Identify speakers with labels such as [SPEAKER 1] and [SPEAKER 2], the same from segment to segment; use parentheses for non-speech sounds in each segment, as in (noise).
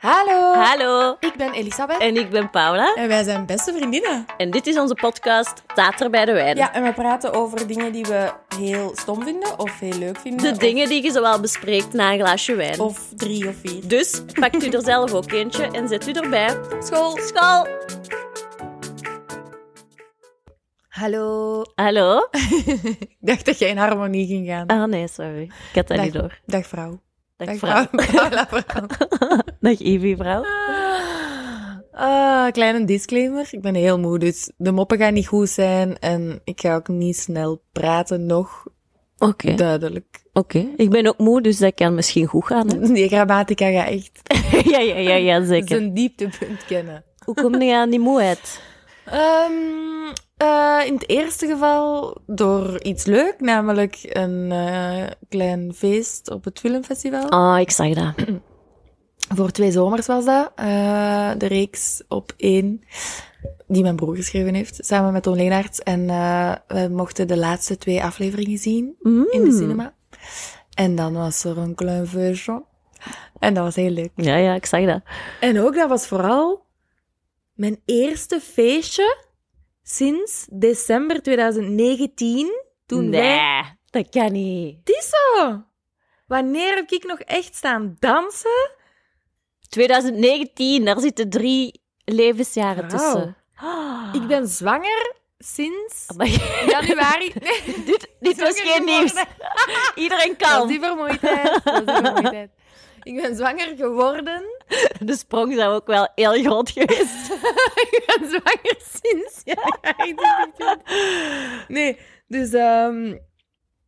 [SPEAKER 1] Hallo,
[SPEAKER 2] Hallo,
[SPEAKER 1] ik ben Elisabeth
[SPEAKER 2] en ik ben Paula.
[SPEAKER 1] en wij zijn beste vriendinnen.
[SPEAKER 2] En dit is onze podcast Tater bij de Wijn.
[SPEAKER 1] Ja, en we praten over dingen die we heel stom vinden of heel leuk vinden.
[SPEAKER 2] De
[SPEAKER 1] of-
[SPEAKER 2] dingen die je zowel bespreekt na een glaasje wijn.
[SPEAKER 1] Of drie of vier.
[SPEAKER 2] Dus pakt u er zelf ook eentje en zet u erbij.
[SPEAKER 1] School.
[SPEAKER 2] School!
[SPEAKER 1] Hallo. (laughs)
[SPEAKER 2] Hallo?
[SPEAKER 1] Ik dacht dat jij in harmonie ging gaan.
[SPEAKER 2] Ah nee, sorry. Ik had dat
[SPEAKER 1] Dag.
[SPEAKER 2] niet door.
[SPEAKER 1] Dag vrouw.
[SPEAKER 2] Dag, vrouw.
[SPEAKER 1] Paula vrouw. (laughs)
[SPEAKER 2] Dag Ivy vrouw.
[SPEAKER 1] Ah, kleine disclaimer. Ik ben heel moe, dus de moppen gaan niet goed zijn. En ik ga ook niet snel praten, nog
[SPEAKER 2] Oké, oké.
[SPEAKER 1] duidelijk.
[SPEAKER 2] Ik ben ook moe, dus dat kan misschien goed gaan.
[SPEAKER 1] (laughs)
[SPEAKER 2] Hè?
[SPEAKER 1] Die grammatica gaat echt
[SPEAKER 2] (laughs) ja, ja, ja, ja, zeker.
[SPEAKER 1] zijn dieptepunt kennen.
[SPEAKER 2] Hoe kom je aan die moeheid?
[SPEAKER 1] Ehm, eh, in het eerste geval door iets leuk, namelijk een eh, klein feest op het filmfestival.
[SPEAKER 2] Ah, ik zag dat.
[SPEAKER 1] Voor twee zomers was dat. eh, de reeks op één, die mijn broer geschreven heeft, samen met Toon Leenaerts. En eh, we mochten de laatste twee afleveringen zien in de
[SPEAKER 2] Mm.
[SPEAKER 1] cinema. En dan was er een klein feestje. En dat was heel leuk.
[SPEAKER 2] Ja, ja, ik zag dat.
[SPEAKER 1] En ook, dat was vooral mijn eerste feestje sinds december 2019. Toen
[SPEAKER 2] nee,
[SPEAKER 1] wij...
[SPEAKER 2] dat kan niet.
[SPEAKER 1] Het is zo! Wanneer heb ik nog echt staan dansen?
[SPEAKER 2] 2019, daar zitten drie levensjaren
[SPEAKER 1] Wauw. Ah.
[SPEAKER 2] tussen.
[SPEAKER 1] Ik
[SPEAKER 2] (laughs)
[SPEAKER 1] ben zwanger sinds
[SPEAKER 2] Amai,
[SPEAKER 1] (laughs) januari. Nee,
[SPEAKER 2] dit dit
[SPEAKER 1] zwanger
[SPEAKER 2] was geen
[SPEAKER 1] geworden.
[SPEAKER 2] nieuws. Iedereen
[SPEAKER 1] Dat is
[SPEAKER 2] kan.
[SPEAKER 1] die vermoeidheid. Dat (laughs) is die vermoeidheid. Ik ben zwanger geworden.
[SPEAKER 2] De sprong zou ook wel heel groot geweest.
[SPEAKER 1] (laughs) Ik ben zwanger sinds januari 2020. (laughs) Nee, dus ehm,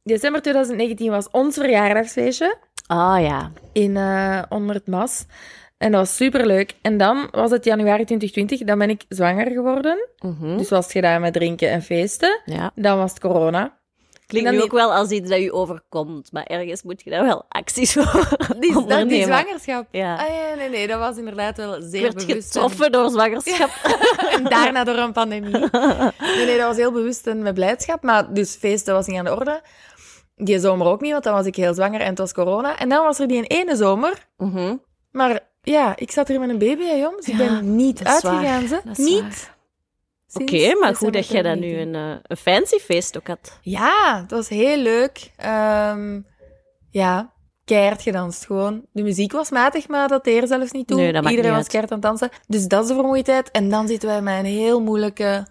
[SPEAKER 1] december 2019 was ons verjaardagsfeestje. Ah,
[SPEAKER 2] Oh ja.
[SPEAKER 1] in, eh, onder het mas. En dat was superleuk. En dan was het januari 2020, dan ben ik zwanger geworden.
[SPEAKER 2] Mhm.
[SPEAKER 1] Dus was het gedaan met drinken en feesten.
[SPEAKER 2] ja.
[SPEAKER 1] Dan was het corona.
[SPEAKER 2] Klinkt
[SPEAKER 1] dan
[SPEAKER 2] nu
[SPEAKER 1] die-
[SPEAKER 2] ook wel als iets dat je overkomt, maar ergens moet je daar wel acties voor
[SPEAKER 1] (laughs) Die, dat, die
[SPEAKER 2] ondernemen.
[SPEAKER 1] zwangerschap.
[SPEAKER 2] Ja.
[SPEAKER 1] Ah, ja, nee, nee, dat was inderdaad wel
[SPEAKER 2] Ik
[SPEAKER 1] zeer
[SPEAKER 2] werd
[SPEAKER 1] bewust.
[SPEAKER 2] getroffen door zwangerschap.
[SPEAKER 1] En, (laughs) en daarna door een
[SPEAKER 2] (laughs)
[SPEAKER 1] pandemie. Nee, nee, dat was heel bewust en met blijdschap. Maar dus feesten was niet aan de orde. Die zomer ook niet, want dan was ik heel zwanger en het was corona. En dan was er die in ene zomer.
[SPEAKER 2] Mhm.
[SPEAKER 1] Maar ja, ik zat hier met een baby, hè, jongens. Ik
[SPEAKER 2] Ja,
[SPEAKER 1] ben niet
[SPEAKER 2] dat is waar.
[SPEAKER 1] uitgegaan, ze.
[SPEAKER 2] Dat is
[SPEAKER 1] Niet.
[SPEAKER 2] waar.
[SPEAKER 1] Sinds
[SPEAKER 2] Oké, maar
[SPEAKER 1] december
[SPEAKER 2] goed dat jij dat nu
[SPEAKER 1] 2019.
[SPEAKER 2] een, eh, een fancy feest ook had.
[SPEAKER 1] Ja, het was heel leuk. Ehm, ja, keihard gedanst gewoon. De muziek was matig, maar dat deed er zelfs niet toe.
[SPEAKER 2] Nee, dat maakt
[SPEAKER 1] Iedereen
[SPEAKER 2] niet
[SPEAKER 1] was
[SPEAKER 2] uit.
[SPEAKER 1] keihard aan het dansen. Dus dat is de vermoeidheid. En dan zitten wij met een heel moeilijke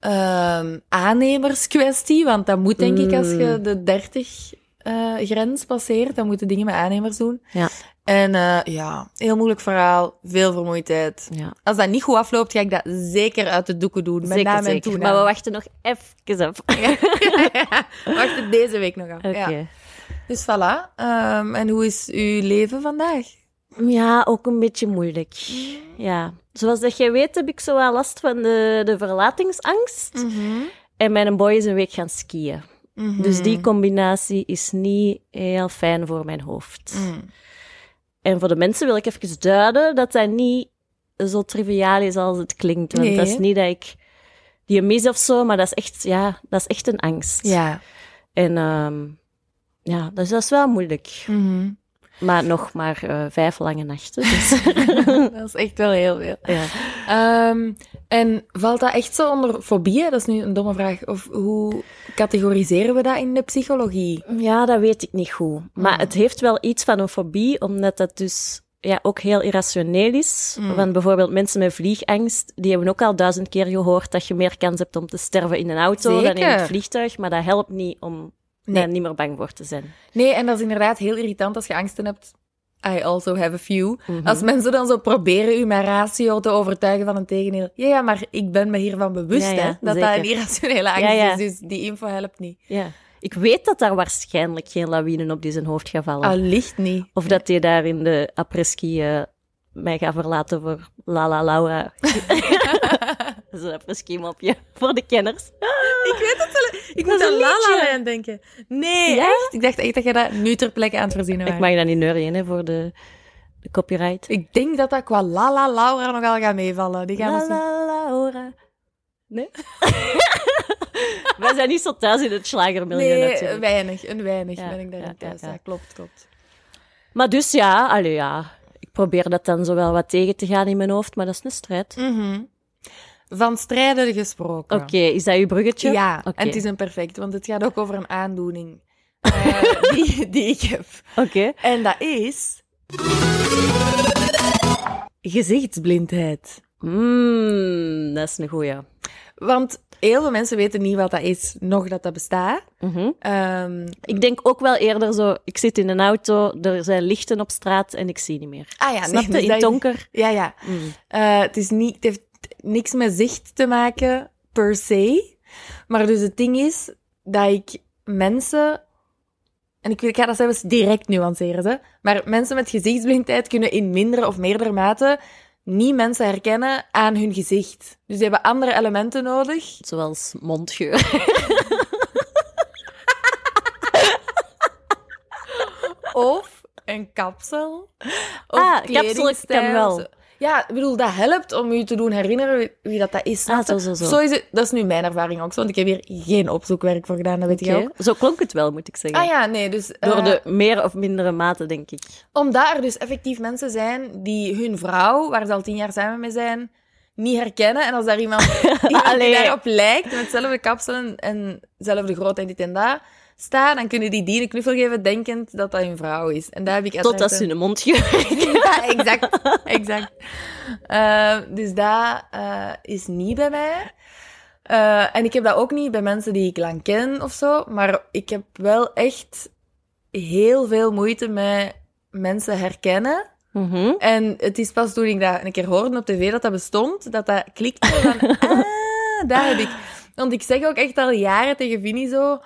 [SPEAKER 1] ehm, aannemerskwestie. Want dat moet, denk ik, als je
[SPEAKER 2] Mm.
[SPEAKER 1] de 30 eh, grens passeert, dan moeten dingen met aannemers doen.
[SPEAKER 2] Ja.
[SPEAKER 1] En eh, ja, heel moeilijk verhaal, veel vermoeidheid.
[SPEAKER 2] Ja,
[SPEAKER 1] Als dat niet goed afloopt, ga ik dat zeker uit de doeken doen. Met
[SPEAKER 2] zeker,
[SPEAKER 1] naam en
[SPEAKER 2] zeker.
[SPEAKER 1] toenaam.
[SPEAKER 2] Maar we wachten nog even af. Oké.
[SPEAKER 1] (laughs) Wacht het deze week nog af. Ja. Dus voilà. Ehm, en hoe is uw leven vandaag?
[SPEAKER 2] Ja, ook een beetje moeilijk. Ja. Zoals dat jij weet heb ik zo wel last van de, de verlatingsangst.
[SPEAKER 1] Mm. Mhm.
[SPEAKER 2] En mijn boy is een week gaan skiën. Dus
[SPEAKER 1] Mm.
[SPEAKER 2] die combinatie is niet heel fijn voor mijn hoofd.
[SPEAKER 1] Mm.
[SPEAKER 2] En voor de mensen wil ik even duiden dat dat niet zo triviaal is als het klinkt. Want
[SPEAKER 1] Nee,
[SPEAKER 2] dat is
[SPEAKER 1] hè?
[SPEAKER 2] niet dat ik die mis of zo, maar dat is echt, ja, dat is echt een angst.
[SPEAKER 1] Ja.
[SPEAKER 2] En ehm, ja, dus dat is wel moeilijk.
[SPEAKER 1] Mhm.
[SPEAKER 2] Maar nog maar eh, vijf lange nachten. Dus,
[SPEAKER 1] (laughs)
[SPEAKER 2] (laughs)
[SPEAKER 1] dat is echt wel heel veel.
[SPEAKER 2] ja.
[SPEAKER 1] Ehm, en valt dat echt zo onder fobieën? Dat is nu een domme vraag. Of hoe categoriseren we dat in de psychologie?
[SPEAKER 2] Ja, dat weet ik niet goed. Maar
[SPEAKER 1] Mm.
[SPEAKER 2] het heeft wel iets van een fobie, omdat dat dus ja, ook heel irrationeel is.
[SPEAKER 1] Mm.
[SPEAKER 2] Want bijvoorbeeld mensen met vliegangst, die hebben ook al duizend keer gehoord dat je meer kans hebt om te sterven in een auto dan in
[SPEAKER 1] Zeker.
[SPEAKER 2] het vliegtuig. Maar dat helpt niet om
[SPEAKER 1] Nee.
[SPEAKER 2] daar niet meer bang voor te zijn.
[SPEAKER 1] Nee, en dat is inderdaad heel irritant als je angsten hebt. I also have a few.
[SPEAKER 2] Mhm.
[SPEAKER 1] Als mensen dan zo proberen u met ratio te overtuigen van een tegendeel. Ja, ja, maar ik ben me hiervan bewust
[SPEAKER 2] Ja, ja,
[SPEAKER 1] hè, dat dat
[SPEAKER 2] zeker.
[SPEAKER 1] een irrationele angst
[SPEAKER 2] Ja, ja.
[SPEAKER 1] is. Dus die info helpt niet.
[SPEAKER 2] Ja. Ik weet dat daar waarschijnlijk geen lawine op die zijn hoofd gaat vallen.
[SPEAKER 1] Allicht niet.
[SPEAKER 2] Of dat hij daar in de apres-ski eh, mij gaat verlaten voor La La
[SPEAKER 1] (laughs)
[SPEAKER 2] Laura. (laughs) dat is een apres-ski mopje voor de kenners.
[SPEAKER 1] Ik weet het wel. Ik
[SPEAKER 2] Dat
[SPEAKER 1] moet
[SPEAKER 2] is
[SPEAKER 1] aan
[SPEAKER 2] een
[SPEAKER 1] La La
[SPEAKER 2] liedje.
[SPEAKER 1] Land denken. Nee,
[SPEAKER 2] Ja?
[SPEAKER 1] echt? Ik dacht echt dat jij dat nu ter plekke aan het verzinnen was.
[SPEAKER 2] Ik mag dat niet neurien hè, voor de, de copyright.
[SPEAKER 1] Ik denk dat dat qua La La Laura nogal gaat meevallen. Die gaan
[SPEAKER 2] La,
[SPEAKER 1] misschien...
[SPEAKER 2] la, Laura.
[SPEAKER 1] (laughs)
[SPEAKER 2] Nee? Wij zijn niet zo thuis in het slagermilieu
[SPEAKER 1] Nee,
[SPEAKER 2] natuurlijk.
[SPEAKER 1] weinig. Een weinig
[SPEAKER 2] Ja,
[SPEAKER 1] ben ik daar
[SPEAKER 2] ja,
[SPEAKER 1] in thuis.
[SPEAKER 2] ja,
[SPEAKER 1] Ja,
[SPEAKER 2] ja.
[SPEAKER 1] klopt, klopt.
[SPEAKER 2] Maar dus ja, allee, ja. Ik probeer dat dan zo wel wat tegen te gaan in mijn hoofd, maar dat is een strijd.
[SPEAKER 1] Mhm. Van strijden gesproken.
[SPEAKER 2] Oké, is dat uw bruggetje?
[SPEAKER 1] Ja,
[SPEAKER 2] Oké.
[SPEAKER 1] en het is een perfect, want het gaat ook over een aandoening eh, die, die ik heb.
[SPEAKER 2] Oké.
[SPEAKER 1] En dat is...
[SPEAKER 2] Gezichtsblindheid. Mm, dat is een goeie.
[SPEAKER 1] Want heel veel mensen weten niet wat dat is, nog dat dat bestaat.
[SPEAKER 2] Mhm.
[SPEAKER 1] Ehm,
[SPEAKER 2] Ik denk ook wel eerder zo, ik zit in een auto, er zijn lichten op straat en ik zie niet meer.
[SPEAKER 1] ah ja,
[SPEAKER 2] Snap je?
[SPEAKER 1] dus
[SPEAKER 2] in
[SPEAKER 1] dat
[SPEAKER 2] het
[SPEAKER 1] is-
[SPEAKER 2] donker.
[SPEAKER 1] Ja, ja.
[SPEAKER 2] Mm.
[SPEAKER 1] Eh, het, is niet, het heeft niks met zicht te maken, per se. Maar dus het ding is dat ik mensen... En ik, ik ga dat zelfs direct nuanceren, hè. Maar mensen met gezichtsblindheid kunnen in mindere of meerdere mate niet mensen herkennen aan hun gezicht. Dus die hebben andere elementen nodig.
[SPEAKER 2] Zoals mondgeur.
[SPEAKER 1] Of een kapsel. Of
[SPEAKER 2] Ah, kapsel ik
[SPEAKER 1] kledingstijl.
[SPEAKER 2] ken wel.
[SPEAKER 1] Ja, ik bedoel, dat helpt om je te doen herinneren wie- wie dat, dat is.
[SPEAKER 2] Ah,
[SPEAKER 1] snap je?
[SPEAKER 2] zo, zo, zo.
[SPEAKER 1] Zo is het, dat is nu mijn ervaring ook, zo, want ik heb hier geen opzoekwerk voor gedaan, dat weet je
[SPEAKER 2] Oké.
[SPEAKER 1] ook.
[SPEAKER 2] Zo klonk het wel, moet ik zeggen.
[SPEAKER 1] Ah ja, nee, dus... eh,
[SPEAKER 2] Door de meer of mindere mate, denk ik.
[SPEAKER 1] Omdat er dus effectief mensen zijn die hun vrouw, waar ze al tien jaar samen mee zijn, niet herkennen. En als daar iemand, (laughs) iemand die
[SPEAKER 2] Allee.
[SPEAKER 1] daarop lijkt, met hetzelfde kapsel en- en dezelfde grootheid dit en dat, staat, dan kunnen die die een knuffel geven, denkend dat dat hun vrouw is. En daar heb ik uiteraard
[SPEAKER 2] Totdat
[SPEAKER 1] een-
[SPEAKER 2] ze hun
[SPEAKER 1] (laughs)
[SPEAKER 2] mondgeur...
[SPEAKER 1] ja, exact. exact. Eh, dus dat eh, is niet bij mij. Eh, en ik heb dat ook niet bij mensen die ik lang ken of zo. Maar ik heb wel echt heel veel moeite met mensen herkennen.
[SPEAKER 2] Mhm.
[SPEAKER 1] En het is pas toen ik dat een keer hoorde op tv dat dat bestond, dat dat klikte van, ah, daar heb ik. Want ik zeg ook echt al jaren tegen Vinnie zo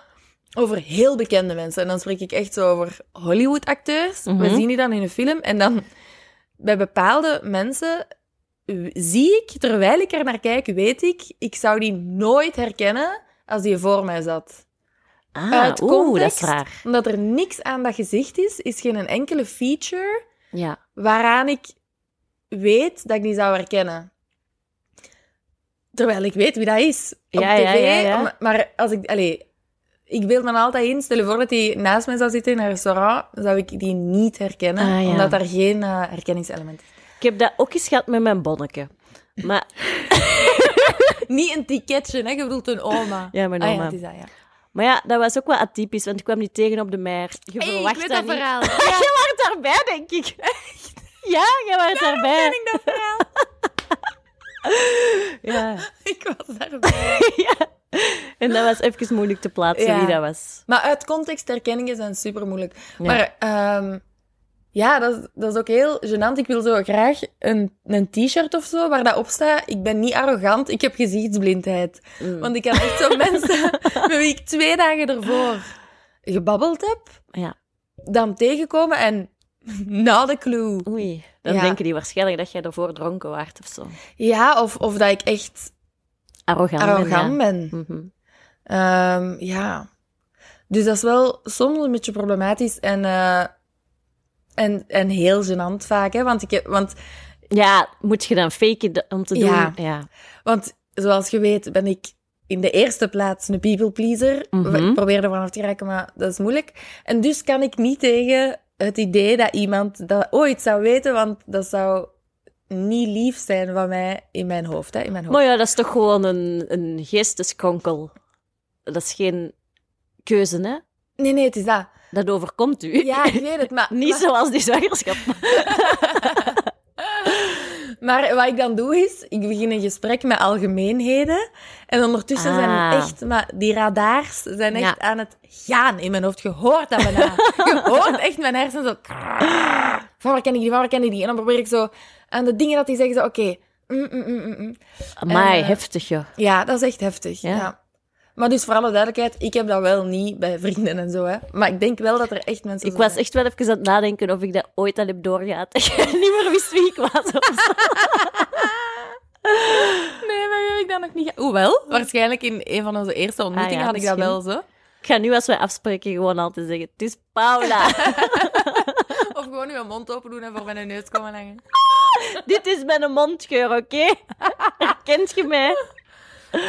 [SPEAKER 1] over heel bekende mensen. En dan spreek ik echt zo over Hollywood-acteurs.
[SPEAKER 2] Mhm.
[SPEAKER 1] We zien die dan in een film en dan bij bepaalde mensen w- zie ik, terwijl ik er naar kijk, weet ik, ik zou die nooit herkennen als die voor mij zat.
[SPEAKER 2] Ah,
[SPEAKER 1] Uit
[SPEAKER 2] oeh, dat is
[SPEAKER 1] context,
[SPEAKER 2] raar.
[SPEAKER 1] omdat er niks aan dat gezicht is, is geen een enkele feature
[SPEAKER 2] Ja.
[SPEAKER 1] waaraan ik weet dat ik die zou herkennen. Terwijl ik weet wie dat is. Op
[SPEAKER 2] Ja,
[SPEAKER 1] tv.
[SPEAKER 2] ja, ja, ja.
[SPEAKER 1] om- Maar als ik... Allee, ik beeld me altijd in. Stel je voor dat hij naast mij zou zitten in een restaurant, zou ik die niet herkennen.
[SPEAKER 2] Ah, ja.
[SPEAKER 1] Omdat daar geen eh, herkenningselement is.
[SPEAKER 2] Ik heb dat ook eens gehad met mijn bonneke. Maar
[SPEAKER 1] Niet een ticketje, hè. Je bedoelt een oma.
[SPEAKER 2] Ja, mijn
[SPEAKER 1] Ah,
[SPEAKER 2] oma.
[SPEAKER 1] ja, het is dat, ja.
[SPEAKER 2] Maar ja, dat was ook wel atypisch, want ik kwam die tegen op de mer. Je
[SPEAKER 1] Hey,
[SPEAKER 2] verwacht
[SPEAKER 1] ik weet
[SPEAKER 2] dat,
[SPEAKER 1] dat,
[SPEAKER 2] niet.
[SPEAKER 1] verhaal.
[SPEAKER 2] Jij was daarbij, denk ik. (laughs) Ja, jij was
[SPEAKER 1] ken
[SPEAKER 2] daarbij.
[SPEAKER 1] ik dat verhaal?
[SPEAKER 2] (laughs) Ja.
[SPEAKER 1] (laughs) Ik was daarbij.
[SPEAKER 2] ja. En dat was even moeilijk te plaatsen
[SPEAKER 1] Ja.
[SPEAKER 2] wie dat was.
[SPEAKER 1] Maar uit context herkenningen zijn super moeilijk. Maar ehm, ja, dat is, dat is ook heel gênant. Ik wil zo graag een, een t-shirt of zo waar dat op staat. Ik ben niet arrogant, ik heb gezichtsblindheid.
[SPEAKER 2] Mm.
[SPEAKER 1] Want ik heb echt
[SPEAKER 2] (laughs)
[SPEAKER 1] zo mensen met wie ik twee dagen ervoor gebabbeld heb,
[SPEAKER 2] Ja.
[SPEAKER 1] dan tegenkomen en not a clue.
[SPEAKER 2] Mm. Oei. Dan
[SPEAKER 1] Ja.
[SPEAKER 2] denken die waarschijnlijk dat jij ervoor dronken waart of zo.
[SPEAKER 1] Ja, of, of dat ik echt
[SPEAKER 2] Arrogant. ben,
[SPEAKER 1] arrogant
[SPEAKER 2] ja.
[SPEAKER 1] ben.
[SPEAKER 2] Mhm.
[SPEAKER 1] Ehm, ja. Dus dat is wel soms een beetje problematisch en, eh, en, en heel gênant vaak. Hè? Want, ik heb, want,
[SPEAKER 2] Ja, moet je dan faken de- om te doen?
[SPEAKER 1] Ja.
[SPEAKER 2] ja.
[SPEAKER 1] want zoals je weet ben ik in de eerste plaats een people pleaser.
[SPEAKER 2] Mhm.
[SPEAKER 1] Ik probeer er vanaf te raken, maar dat is moeilijk. En dus kan ik niet tegen het idee dat iemand dat ooit zou weten, want dat zou niet lief zijn van mij in mijn hoofd. Hè? In mijn hoofd.
[SPEAKER 2] Maar ja, dat is toch gewoon een, een geesteskronkel. Dat is geen keuze, hè?
[SPEAKER 1] Nee, nee, het is dat.
[SPEAKER 2] Dat overkomt u.
[SPEAKER 1] Ja,
[SPEAKER 2] (laughs)
[SPEAKER 1] ik weet het, maar...
[SPEAKER 2] Niet
[SPEAKER 1] maar-
[SPEAKER 2] zoals die zwangerschap.
[SPEAKER 1] (laughs) Maar wat ik dan doe is, ik begin een gesprek met algemeenheden. En ondertussen zijn
[SPEAKER 2] Ah.
[SPEAKER 1] echt, maar die radars zijn echt
[SPEAKER 2] Ja.
[SPEAKER 1] aan het gaan in mijn hoofd. Je hoort dat bijna.
[SPEAKER 2] (laughs)
[SPEAKER 1] Je hoort echt mijn hersenen zo... Van waar ken ik die, van waar ken ik die? En dan probeer ik zo aan de dingen dat die zeggen, zo, oké. mm, mm, mm, mm, mm.
[SPEAKER 2] Amai,
[SPEAKER 1] Eh,
[SPEAKER 2] heftig joh.
[SPEAKER 1] Ja, dat is echt heftig.
[SPEAKER 2] Ja.
[SPEAKER 1] Ja. Maar dus voor alle duidelijkheid, ik heb dat wel niet bij vrienden en zo. Hè. Maar ik denk wel dat er echt mensen
[SPEAKER 2] Ik
[SPEAKER 1] zo
[SPEAKER 2] was echt wel even aan het nadenken of ik dat ooit al heb doorgehad. (laughs) Dat je niet meer wist wie ik was. of zo.
[SPEAKER 1] Nee, maar heb ik dat nog niet... ge- Hoewel, waarschijnlijk in een van onze eerste ontmoetingen
[SPEAKER 2] Ah ja,
[SPEAKER 1] had ik dat wel
[SPEAKER 2] misschien.
[SPEAKER 1] zo.
[SPEAKER 2] Ik ga nu als wij afspreken gewoon altijd zeggen, het is Paula. (laughs)
[SPEAKER 1] Of gewoon uw mond open doen en voor mijn neus komen hangen.
[SPEAKER 2] Dit is mijn mondgeur, oké? (laughs) Herkent je mij?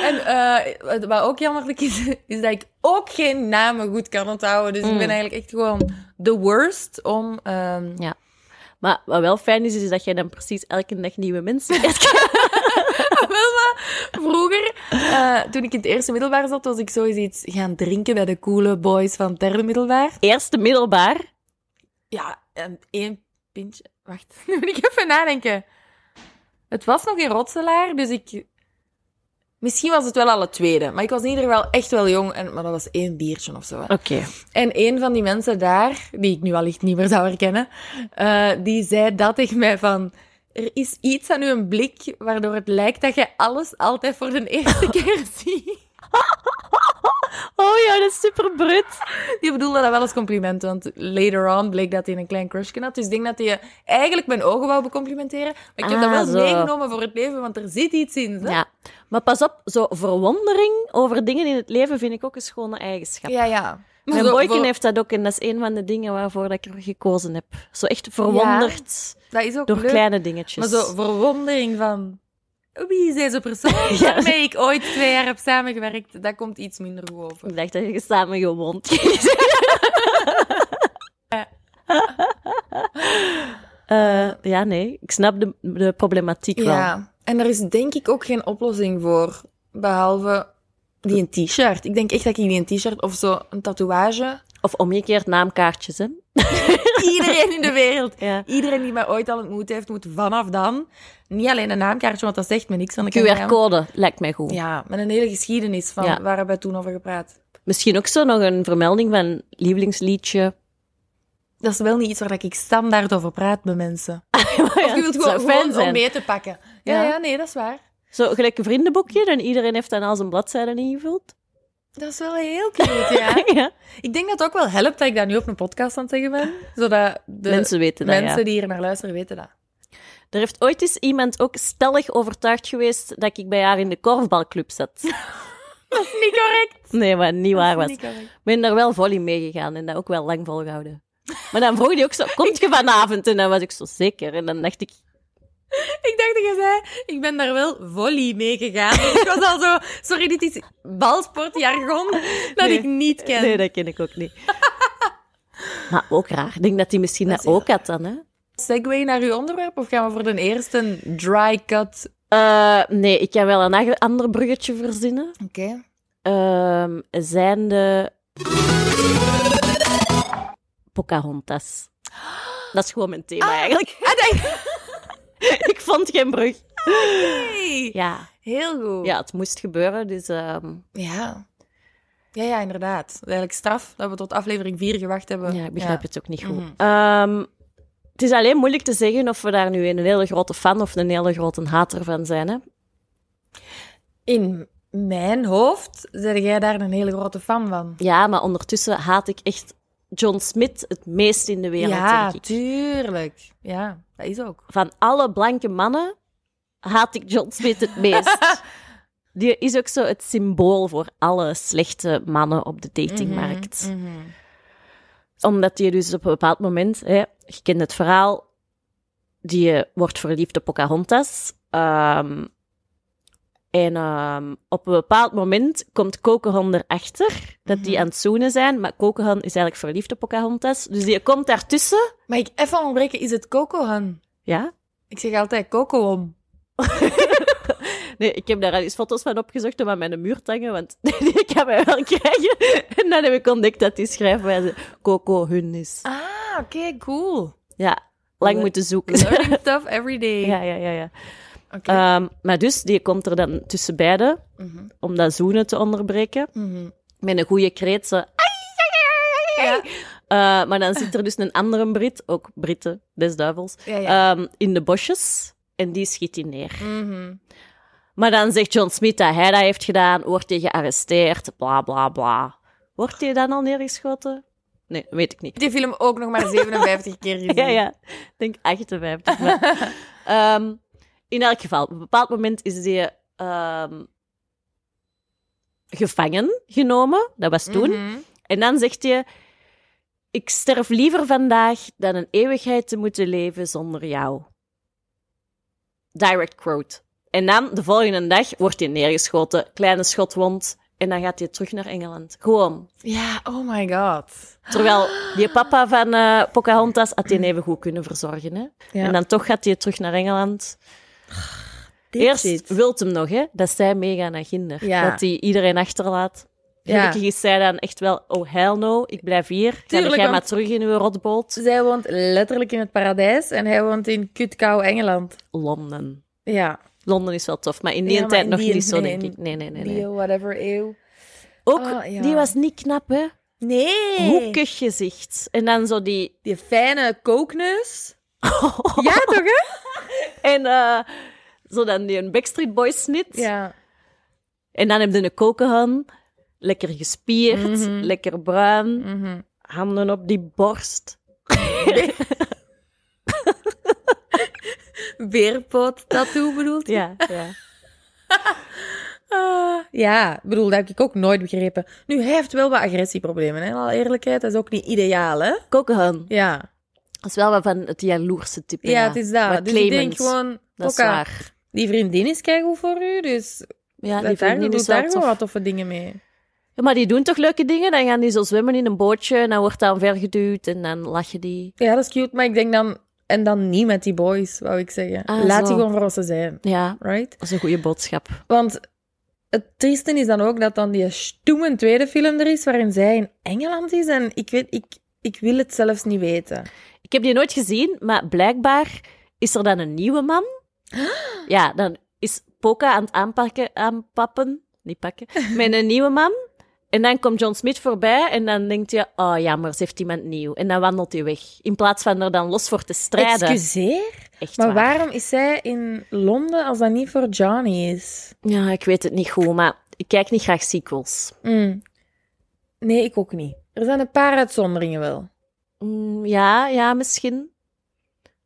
[SPEAKER 1] En eh, wat- wat ook jammerlijk is, is dat ik ook geen namen goed kan onthouden. Dus ik ben eigenlijk echt gewoon de worst om... ehm, (laughs)
[SPEAKER 2] Ja. Maar wat wel fijn is, is dat jij dan precies elke dag nieuwe mensen leert.
[SPEAKER 1] Wel, maar Ah, vroeger, eh, toen ik in het eerste middelbaar zat, was ik sowieso iets gaan drinken bij de coole boys van het derde middelbaar.
[SPEAKER 2] Eerste middelbaar.
[SPEAKER 1] Ja, en één pintje. Wacht, (laughs) nu moet ik even nadenken. Het was nog in Rotselaar, dus ik... Misschien was het wel al het tweede, maar ik was in ieder geval echt wel jong. En, maar dat was één biertje of zo. hè.
[SPEAKER 2] Oké.
[SPEAKER 1] En een van die mensen daar, die ik nu allicht niet meer zou herkennen, eh, die zei dat tegen mij van... Er is iets aan uw blik waardoor het lijkt dat jij alles altijd voor de (laughs) eerste keer ziet.
[SPEAKER 2] Oh ja, dat is super brut.
[SPEAKER 1] Die bedoelde dat wel als compliment, want later on bleek dat hij een klein crushje had. Dus ik denk dat hij eigenlijk mijn ogen wou becomplimenteren. Maar ik heb dat
[SPEAKER 2] Ah,
[SPEAKER 1] wel
[SPEAKER 2] zo.
[SPEAKER 1] meegenomen voor het leven, want er zit iets in. hè?
[SPEAKER 2] Ja. Maar pas op, zo verwondering over dingen in het leven vind ik ook een schone eigenschap.
[SPEAKER 1] ja. ja.
[SPEAKER 2] Mijn
[SPEAKER 1] Zo,
[SPEAKER 2] boyken
[SPEAKER 1] voor-
[SPEAKER 2] heeft dat ook en dat is een van de dingen waarvoor dat ik er gekozen heb. Zo echt verwonderd
[SPEAKER 1] dat is ook
[SPEAKER 2] door
[SPEAKER 1] leuk.
[SPEAKER 2] kleine dingetjes.
[SPEAKER 1] Maar zo verwondering van... Wie is deze (laughs) persoon
[SPEAKER 2] Ja.
[SPEAKER 1] waarmee ik ooit twee jaar heb samengewerkt? Dat komt iets minder goed over.
[SPEAKER 2] Ik dacht dat je samen gewond
[SPEAKER 1] (laughs)
[SPEAKER 2] Eh Ja, nee. Ik snap de, de problematiek wel.
[SPEAKER 1] Ja, en er is denk ik ook geen oplossing voor, behalve die een t-shirt. Ik denk echt dat ik die een t-shirt of zo, een (laughs) tatoeage...
[SPEAKER 2] Of omgekeerd naamkaartjes, hè.
[SPEAKER 1] Iedereen in de wereld
[SPEAKER 2] Ja.
[SPEAKER 1] Iedereen die mij ooit al ontmoet heeft, moet vanaf dan niet alleen een naamkaartje, want dat zegt me niks. want dan ken ik hem.
[SPEAKER 2] QR-code lijkt mij goed.
[SPEAKER 1] Ja, met een hele geschiedenis van
[SPEAKER 2] Ja.
[SPEAKER 1] waar hebben we toen over gepraat.
[SPEAKER 2] Misschien ook zo nog een vermelding van lievelingsliedje.
[SPEAKER 1] Dat is wel niet iets waar ik standaard over praat met mensen. Of je wilt
[SPEAKER 2] Het zou
[SPEAKER 1] gewoon,
[SPEAKER 2] fijn
[SPEAKER 1] gewoon om
[SPEAKER 2] zijn.
[SPEAKER 1] mee te pakken. Ja,
[SPEAKER 2] Ja.
[SPEAKER 1] ja, nee, dat is waar.
[SPEAKER 2] Zo, gelijk een vriendenboekje, dan iedereen heeft dan al zijn bladzijden ingevuld.
[SPEAKER 1] Dat is wel heel cute, ja.
[SPEAKER 2] (laughs) Ja.
[SPEAKER 1] (laughs) Ik denk dat het ook wel helpt dat ik dat nu op een podcast aan het zeggen ben. Zodat de mensen,
[SPEAKER 2] Mensen weten dat, ja.
[SPEAKER 1] die hier naar luisteren weten dat.
[SPEAKER 2] Er heeft ooit eens iemand ook stellig overtuigd geweest dat ik bij haar in de korfbalclub zat.
[SPEAKER 1] (laughs) Niet correct.
[SPEAKER 2] Nee, maar niet waar was.
[SPEAKER 1] Niet correct.
[SPEAKER 2] Ik ben daar wel vol in meegegaan en dat ook wel lang volgehouden. Maar dan vroeg die ook zo, komt je vanavond? En dan was ik zo zeker. En dan dacht ik,
[SPEAKER 1] Ik dacht dat je zei, ik ben daar wel volley mee gegaan. (laughs) ik was al zo, sorry, dit is (laughs) balsportjargon dat
[SPEAKER 2] Nee.
[SPEAKER 1] ik niet ken.
[SPEAKER 2] nee, dat ken ik ook niet. Maar ook raar. Ik denk dat hij misschien dat,
[SPEAKER 1] Dat is
[SPEAKER 2] ook had dan, hè?
[SPEAKER 1] Segway naar uw onderwerp of gaan we voor de eerste dry cut?
[SPEAKER 2] Eh, nee, ik kan wel een ag- ander bruggetje verzinnen.
[SPEAKER 1] Oké.
[SPEAKER 2] Ehm, zijn de... Pocahontas. Dat is gewoon mijn thema, eigenlijk. (laughs) ik vond geen brug. Ja,
[SPEAKER 1] Heel goed.
[SPEAKER 2] ja het moest gebeuren, dus... ehm,
[SPEAKER 1] ja. Ja, ja, inderdaad. Eigenlijk straf dat we tot aflevering 4 gewacht hebben.
[SPEAKER 2] Ja, ik begrijp het ook niet goed.
[SPEAKER 1] Mhm.
[SPEAKER 2] Ehm, het is alleen moeilijk te zeggen of we daar nu een hele grote fan of een hele grote hater van zijn. Hè?
[SPEAKER 1] In mijn hoofd ben jij daar een hele grote fan van.
[SPEAKER 2] Ja, maar ondertussen haat ik echt John Smith het meest in de wereld.
[SPEAKER 1] ja,
[SPEAKER 2] denk ik.
[SPEAKER 1] tuurlijk. Ja, dat is ook.
[SPEAKER 2] Van alle blanke mannen haat ik John Smith het meest. Die is ook zo het symbool voor alle slechte mannen op de datingmarkt.
[SPEAKER 1] Mhm.
[SPEAKER 2] Omdat die dus op een bepaald moment, hè, je kent het verhaal, die eh, wordt verliefd op Pocahontas. Ehm, en ehm, op een bepaald moment komt Kokohan erachter dat die aan het zoenen zijn. Maar Kokohan is eigenlijk verliefd op Pocahontas. Dus die komt daartussen.
[SPEAKER 1] Maar ik even ontbreken, is het cocohan?
[SPEAKER 2] Ja?
[SPEAKER 1] Ik zeg altijd cocoom.
[SPEAKER 2] Nee, ik heb daar al eens foto's van opgezocht om aan mijn muur te hangen, want (laughs) die kan mij wel krijgen. (laughs) En dan heb ik ontdekt dat die schrijfwijze Kokohun is.
[SPEAKER 1] Ah, oké, (laughs) cool.
[SPEAKER 2] Ja, lang
[SPEAKER 1] Le-
[SPEAKER 2] moeten zoeken. (laughs)
[SPEAKER 1] Learning stuff every day.
[SPEAKER 2] Ja, ja, ja, ja.
[SPEAKER 1] Oké.
[SPEAKER 2] Ehm, maar dus, die komt er dan tussen beiden,
[SPEAKER 1] Mhm.
[SPEAKER 2] om dat zoenen te onderbreken.
[SPEAKER 1] Mhm.
[SPEAKER 2] Met een goede kreet, zo...
[SPEAKER 1] Ja.
[SPEAKER 2] Eh, maar dan zit er dus een andere Brit, ook Britten, des duivels,
[SPEAKER 1] Ja, ja.
[SPEAKER 2] ehm, in de bosjes. En die schiet die neer.
[SPEAKER 1] Mhm.
[SPEAKER 2] Maar dan zegt John Smith dat hij dat heeft gedaan, wordt hij gearresteerd, bla bla bla. Wordt hij dan al neergeschoten? Nee, weet ik niet.
[SPEAKER 1] Die film ook nog
[SPEAKER 2] (laughs)
[SPEAKER 1] maar 57 keer gezien.
[SPEAKER 2] Ja, ja. Ik denk 58. Maar. Ehm, in elk geval, op een bepaald moment is die ehm, gevangen genomen. Dat was toen.
[SPEAKER 1] Mhm.
[SPEAKER 2] En dan zegt hij... Ik sterf liever vandaag dan een eeuwigheid te moeten leven zonder jou. Direct quote. En dan, de volgende dag, wordt hij neergeschoten. Kleine schotwond. En dan gaat hij terug naar Engeland. Gewoon.
[SPEAKER 1] Ja, oh my god.
[SPEAKER 2] Terwijl die papa van eh, Pocahontas had die even goed kunnen verzorgen. Hè?
[SPEAKER 1] Ja.
[SPEAKER 2] En dan toch gaat hij terug naar Engeland.
[SPEAKER 1] Dit
[SPEAKER 2] Eerst
[SPEAKER 1] zit.
[SPEAKER 2] wilt hem nog, hè, dat zij meegaan naar Ginder.
[SPEAKER 1] Ja.
[SPEAKER 2] Dat hij iedereen achterlaat. Gelukkig is zij dan echt wel, oh hell no, ik blijf hier. Ga
[SPEAKER 1] Tuurlijk,
[SPEAKER 2] jij
[SPEAKER 1] want-
[SPEAKER 2] maar terug in uw rotboot.
[SPEAKER 1] Zij woont letterlijk in het paradijs en hij woont in kutkou Engeland.
[SPEAKER 2] Londen.
[SPEAKER 1] Ja.
[SPEAKER 2] Londen is wel tof, maar in die
[SPEAKER 1] Ja, maar
[SPEAKER 2] tijd
[SPEAKER 1] in
[SPEAKER 2] nog
[SPEAKER 1] die-
[SPEAKER 2] niet zo,
[SPEAKER 1] nee,
[SPEAKER 2] denk
[SPEAKER 1] in
[SPEAKER 2] ik. Nee, nee, nee.
[SPEAKER 1] Die,
[SPEAKER 2] nee.
[SPEAKER 1] eh, whatever eeuw.
[SPEAKER 2] Ook,
[SPEAKER 1] Oh, ja.
[SPEAKER 2] die was niet knap, hè.
[SPEAKER 1] Nee.
[SPEAKER 2] Hoekig gezicht. En dan zo die...
[SPEAKER 1] Die fijne
[SPEAKER 2] (laughs)
[SPEAKER 1] kookneus. Ja, toch hè?
[SPEAKER 2] En eh, zo dan die een Backstreet Boys snit.
[SPEAKER 1] Ja.
[SPEAKER 2] En dan heb je een kokenhan. Lekker gespierd,
[SPEAKER 1] Mhm.
[SPEAKER 2] lekker bruin.
[SPEAKER 1] Mhm.
[SPEAKER 2] Handen op die borst.
[SPEAKER 1] Beerpot tattoo (laughs) bedoelt
[SPEAKER 2] Ja, ja.
[SPEAKER 1] Ah, ja, ik bedoel, dat heb ik ook nooit begrepen. Nu, hij heeft wel wat agressieproblemen, hè? in alle eerlijkheid. Dat is ook niet ideaal, hè?
[SPEAKER 2] Kokenhan.
[SPEAKER 1] Ja,
[SPEAKER 2] Dat is wel wat van het jaloerse type.
[SPEAKER 1] ja, het is
[SPEAKER 2] Maar
[SPEAKER 1] dat. Dus ik denk
[SPEAKER 2] claimant,
[SPEAKER 1] gewoon,
[SPEAKER 2] Dat is
[SPEAKER 1] Pokka,
[SPEAKER 2] waar.
[SPEAKER 1] die vriendin is keigoed voor u, dus
[SPEAKER 2] Ja,
[SPEAKER 1] die
[SPEAKER 2] die vriendin
[SPEAKER 1] doet
[SPEAKER 2] is wel
[SPEAKER 1] daar
[SPEAKER 2] tof.
[SPEAKER 1] gewoon wat toffe dingen mee.
[SPEAKER 2] Ja, maar die doen toch leuke dingen? Dan gaan die zo zwemmen in een bootje en dan wordt dat vergeduwd en dan lachen die.
[SPEAKER 1] Ja, dat is cute, maar ik denk dan... En dan niet met die boys, wou ik zeggen.
[SPEAKER 2] Ah,
[SPEAKER 1] Laat
[SPEAKER 2] zo.
[SPEAKER 1] die gewoon voor ze zijn,
[SPEAKER 2] Ja,
[SPEAKER 1] right?
[SPEAKER 2] dat is een goede boodschap.
[SPEAKER 1] Want het trieste is dan ook dat dan die stoeme tweede film er is, waarin zij in Engeland is. En ik weet... Ik, ik wil het zelfs niet weten.
[SPEAKER 2] Ik heb die nooit gezien, maar blijkbaar is er dan een nieuwe (gasps) man. Ja, dan is Poca aan het aanpakken, aanpappen, niet pakken, (laughs) met een nieuwe man. En dan komt John Smith voorbij en dan denkt je, oh jammer, ze heeft iemand nieuw. En dan wandelt hij weg, in plaats van er dan los voor te strijden.
[SPEAKER 1] Excuseer?
[SPEAKER 2] Echt
[SPEAKER 1] Maar
[SPEAKER 2] waar.
[SPEAKER 1] waarom is zij in Londen als dat niet voor Johnny is?
[SPEAKER 2] Ja, ik weet het niet goed, maar ik kijk niet graag sequels.
[SPEAKER 1] Mm. Nee, ik ook niet. Er zijn een paar uitzonderingen wel.
[SPEAKER 2] Mm, ja, ja, misschien.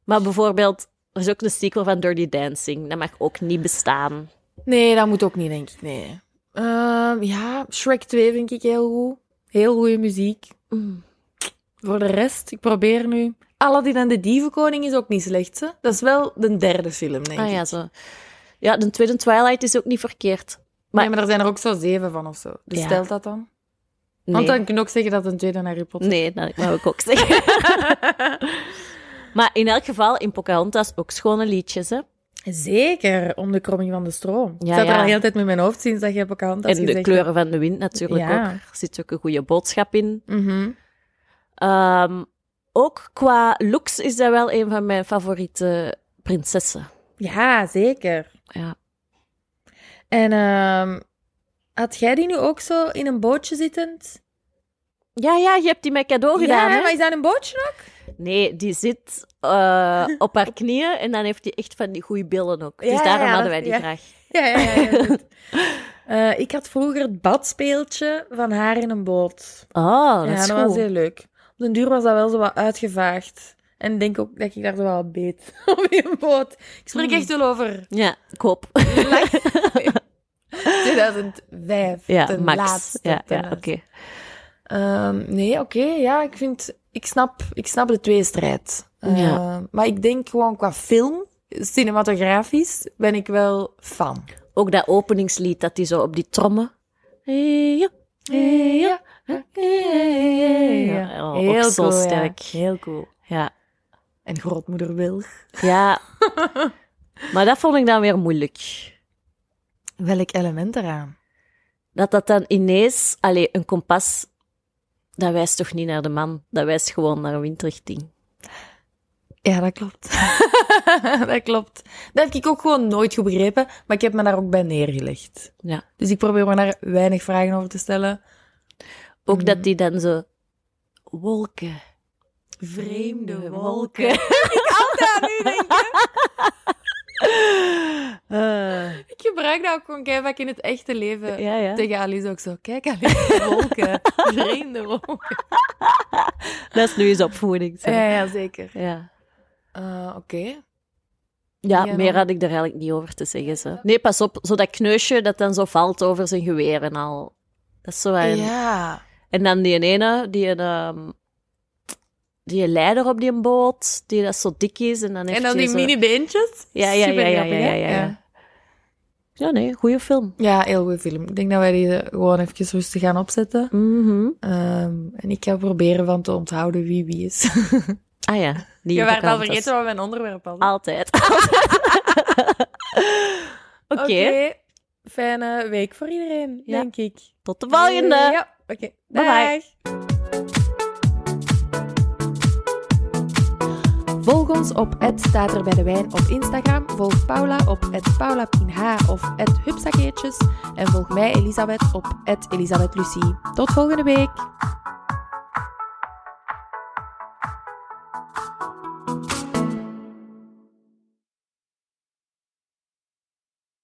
[SPEAKER 2] Maar bijvoorbeeld, er is ook een sequel van Dirty Dancing. Dat mag ook niet bestaan.
[SPEAKER 1] Nee, dat moet ook niet, denk ik. Nee. Ehm, ja, Shrek 2 vind ik heel goed. Heel goede muziek.
[SPEAKER 2] Mm.
[SPEAKER 1] Voor de rest, ik probeer nu... Aladdin en de Dievenkoning is ook niet slecht, hè? Dat is wel de derde film, denk ik.
[SPEAKER 2] Ah ja, zo. Ja, de tweede Twilight is ook niet verkeerd. maar-
[SPEAKER 1] Nee, maar er zijn er ook zo zeven van of zo. Dus
[SPEAKER 2] Ja.
[SPEAKER 1] stelt dat dan?
[SPEAKER 2] Nee,
[SPEAKER 1] Want dan kun je ook zeggen dat een tweede Harry Potter
[SPEAKER 2] nee dat wou ik ook (laughs) zeggen. maar in elk geval, in Pocahontas ook schone liedjes, hè.
[SPEAKER 1] (laughs) Zeker, om de kromming van de stroom.
[SPEAKER 2] Ja,
[SPEAKER 1] ik zat
[SPEAKER 2] ja.
[SPEAKER 1] er al de hele tijd met mijn hoofd sinds dat je hebt hand
[SPEAKER 2] en de kleuren van de wind natuurlijk
[SPEAKER 1] Ja.
[SPEAKER 2] ook. Er zit ook een goede boodschap in.
[SPEAKER 1] Mhm.
[SPEAKER 2] Ehm, ook qua looks is dat wel een van mijn favoriete prinsessen.
[SPEAKER 1] Ja, zeker.
[SPEAKER 2] Ja.
[SPEAKER 1] En ehm, had jij die nu ook zo in een bootje zittend?
[SPEAKER 2] Ja, ja, je hebt die mij cadeau gedaan,
[SPEAKER 1] ja,
[SPEAKER 2] hè?
[SPEAKER 1] maar is dat een bootje nog?
[SPEAKER 2] Nee, die zit eh, op haar knieën en dan heeft die echt van die goede billen ook.
[SPEAKER 1] Ja,
[SPEAKER 2] dus
[SPEAKER 1] ja,
[SPEAKER 2] daarom
[SPEAKER 1] ja,
[SPEAKER 2] hadden
[SPEAKER 1] dat- ja.
[SPEAKER 2] wij die graag.
[SPEAKER 1] Ja, ja, ja. ja, goed. (laughs) Eh, ik had vroeger het badspeeltje van haar in een boot.
[SPEAKER 2] Oh, dat
[SPEAKER 1] ja,
[SPEAKER 2] is
[SPEAKER 1] dat
[SPEAKER 2] goed.
[SPEAKER 1] was heel leuk. Op den duur was dat wel zo wat uitgevaagd. En ik denk ook dat ik daar zo wel beet (laughs) op in een boot. Ik spreek
[SPEAKER 2] Mm.
[SPEAKER 1] echt wel over
[SPEAKER 2] Ja, ik hoop.
[SPEAKER 1] lang- (laughs) 2005.
[SPEAKER 2] Ja,
[SPEAKER 1] ten
[SPEAKER 2] max.
[SPEAKER 1] laatste,
[SPEAKER 2] ja,
[SPEAKER 1] ten
[SPEAKER 2] ja oké.
[SPEAKER 1] laatste. Ehm, nee, oké, ja, ik vind... Ik snap, ik snap de tweestrijd. Eh,
[SPEAKER 2] Ja.
[SPEAKER 1] Maar ik denk gewoon qua film, cinematografisch, ben ik wel fan.
[SPEAKER 2] Ook dat openingslied dat die zo op die trommen. Ja, ja, ja. Oh, ook zo
[SPEAKER 1] cool, ja.
[SPEAKER 2] sterk.
[SPEAKER 1] Heel cool.
[SPEAKER 2] Ja.
[SPEAKER 1] En grootmoeder Wilg.
[SPEAKER 2] ja.
[SPEAKER 1] (laughs)
[SPEAKER 2] Maar dat vond ik dan weer moeilijk.
[SPEAKER 1] Welk element eraan?
[SPEAKER 2] Dat dat dan ineens, allee, een kompas, dat wijst toch niet naar de man. Dat wijst gewoon naar een windrichting.
[SPEAKER 1] Ja, dat klopt. (laughs) dat klopt. Dat heb ik ook gewoon nooit goed begrepen, maar ik heb me daar ook bij neergelegd.
[SPEAKER 2] Ja.
[SPEAKER 1] Dus ik probeer me daar weinig vragen over te stellen.
[SPEAKER 2] Ook
[SPEAKER 1] Mhm.
[SPEAKER 2] dat die dan zo wolken.
[SPEAKER 1] (laughs)
[SPEAKER 2] (laughs)
[SPEAKER 1] nu denk ik. (laughs) Ik gebruik dat ook gewoon keihard in het echte leven.
[SPEAKER 2] Ah. ja, ja.
[SPEAKER 1] Tegen Alice ook zo. Kijk, Alice, wolken. (laughs) Vreemde wolken.
[SPEAKER 2] Dat is nu eens opvoeding. zeg.
[SPEAKER 1] Ja, ja zeker.
[SPEAKER 2] Ja.
[SPEAKER 1] Eh, Oké.
[SPEAKER 2] Ja,
[SPEAKER 1] Ja.
[SPEAKER 2] meer had ik er eigenlijk niet over te zeggen. Zo. Nee, pas op, zo dat kneusje dat dan zo valt over zijn geweer en al. Dat is zo een-
[SPEAKER 1] Ja.
[SPEAKER 2] En dan die ene, die een... ehm, die leider op die boot, die dat zo dik is. En dan, heeft
[SPEAKER 1] En dan
[SPEAKER 2] hij
[SPEAKER 1] die
[SPEAKER 2] zo...
[SPEAKER 1] mini-beentjes.
[SPEAKER 2] Ja, ja, ja, ja,
[SPEAKER 1] Supergrappig,
[SPEAKER 2] ja,
[SPEAKER 1] hè?
[SPEAKER 2] ja, ja. Ja, nee, goede film.
[SPEAKER 1] Ja, heel goede film. Ik denk dat wij die gewoon even rustig gaan opzetten.
[SPEAKER 2] Mhm.
[SPEAKER 1] Ehm, en ik ga proberen van te onthouden wie wie
[SPEAKER 2] (laughs)
[SPEAKER 1] is.
[SPEAKER 2] Ah ja, die
[SPEAKER 1] Je werd al
[SPEAKER 2] Pocahontas.
[SPEAKER 1] vergeten wat mijn onderwerp was.
[SPEAKER 2] Altijd. (laughs) Oké,
[SPEAKER 1] Fijne week voor iedereen,
[SPEAKER 2] Ja.
[SPEAKER 1] denk ik.
[SPEAKER 2] tot de volgende.
[SPEAKER 1] Ja, oké.
[SPEAKER 2] Bye-bye.
[SPEAKER 1] Dag. Volg ons op het staat er bij de wijn op Instagram. Volg Paula op het paulapinh of het hupsakeertjes. En volg mij Elisabeth op het Elisabeth Lucie. Tot volgende week.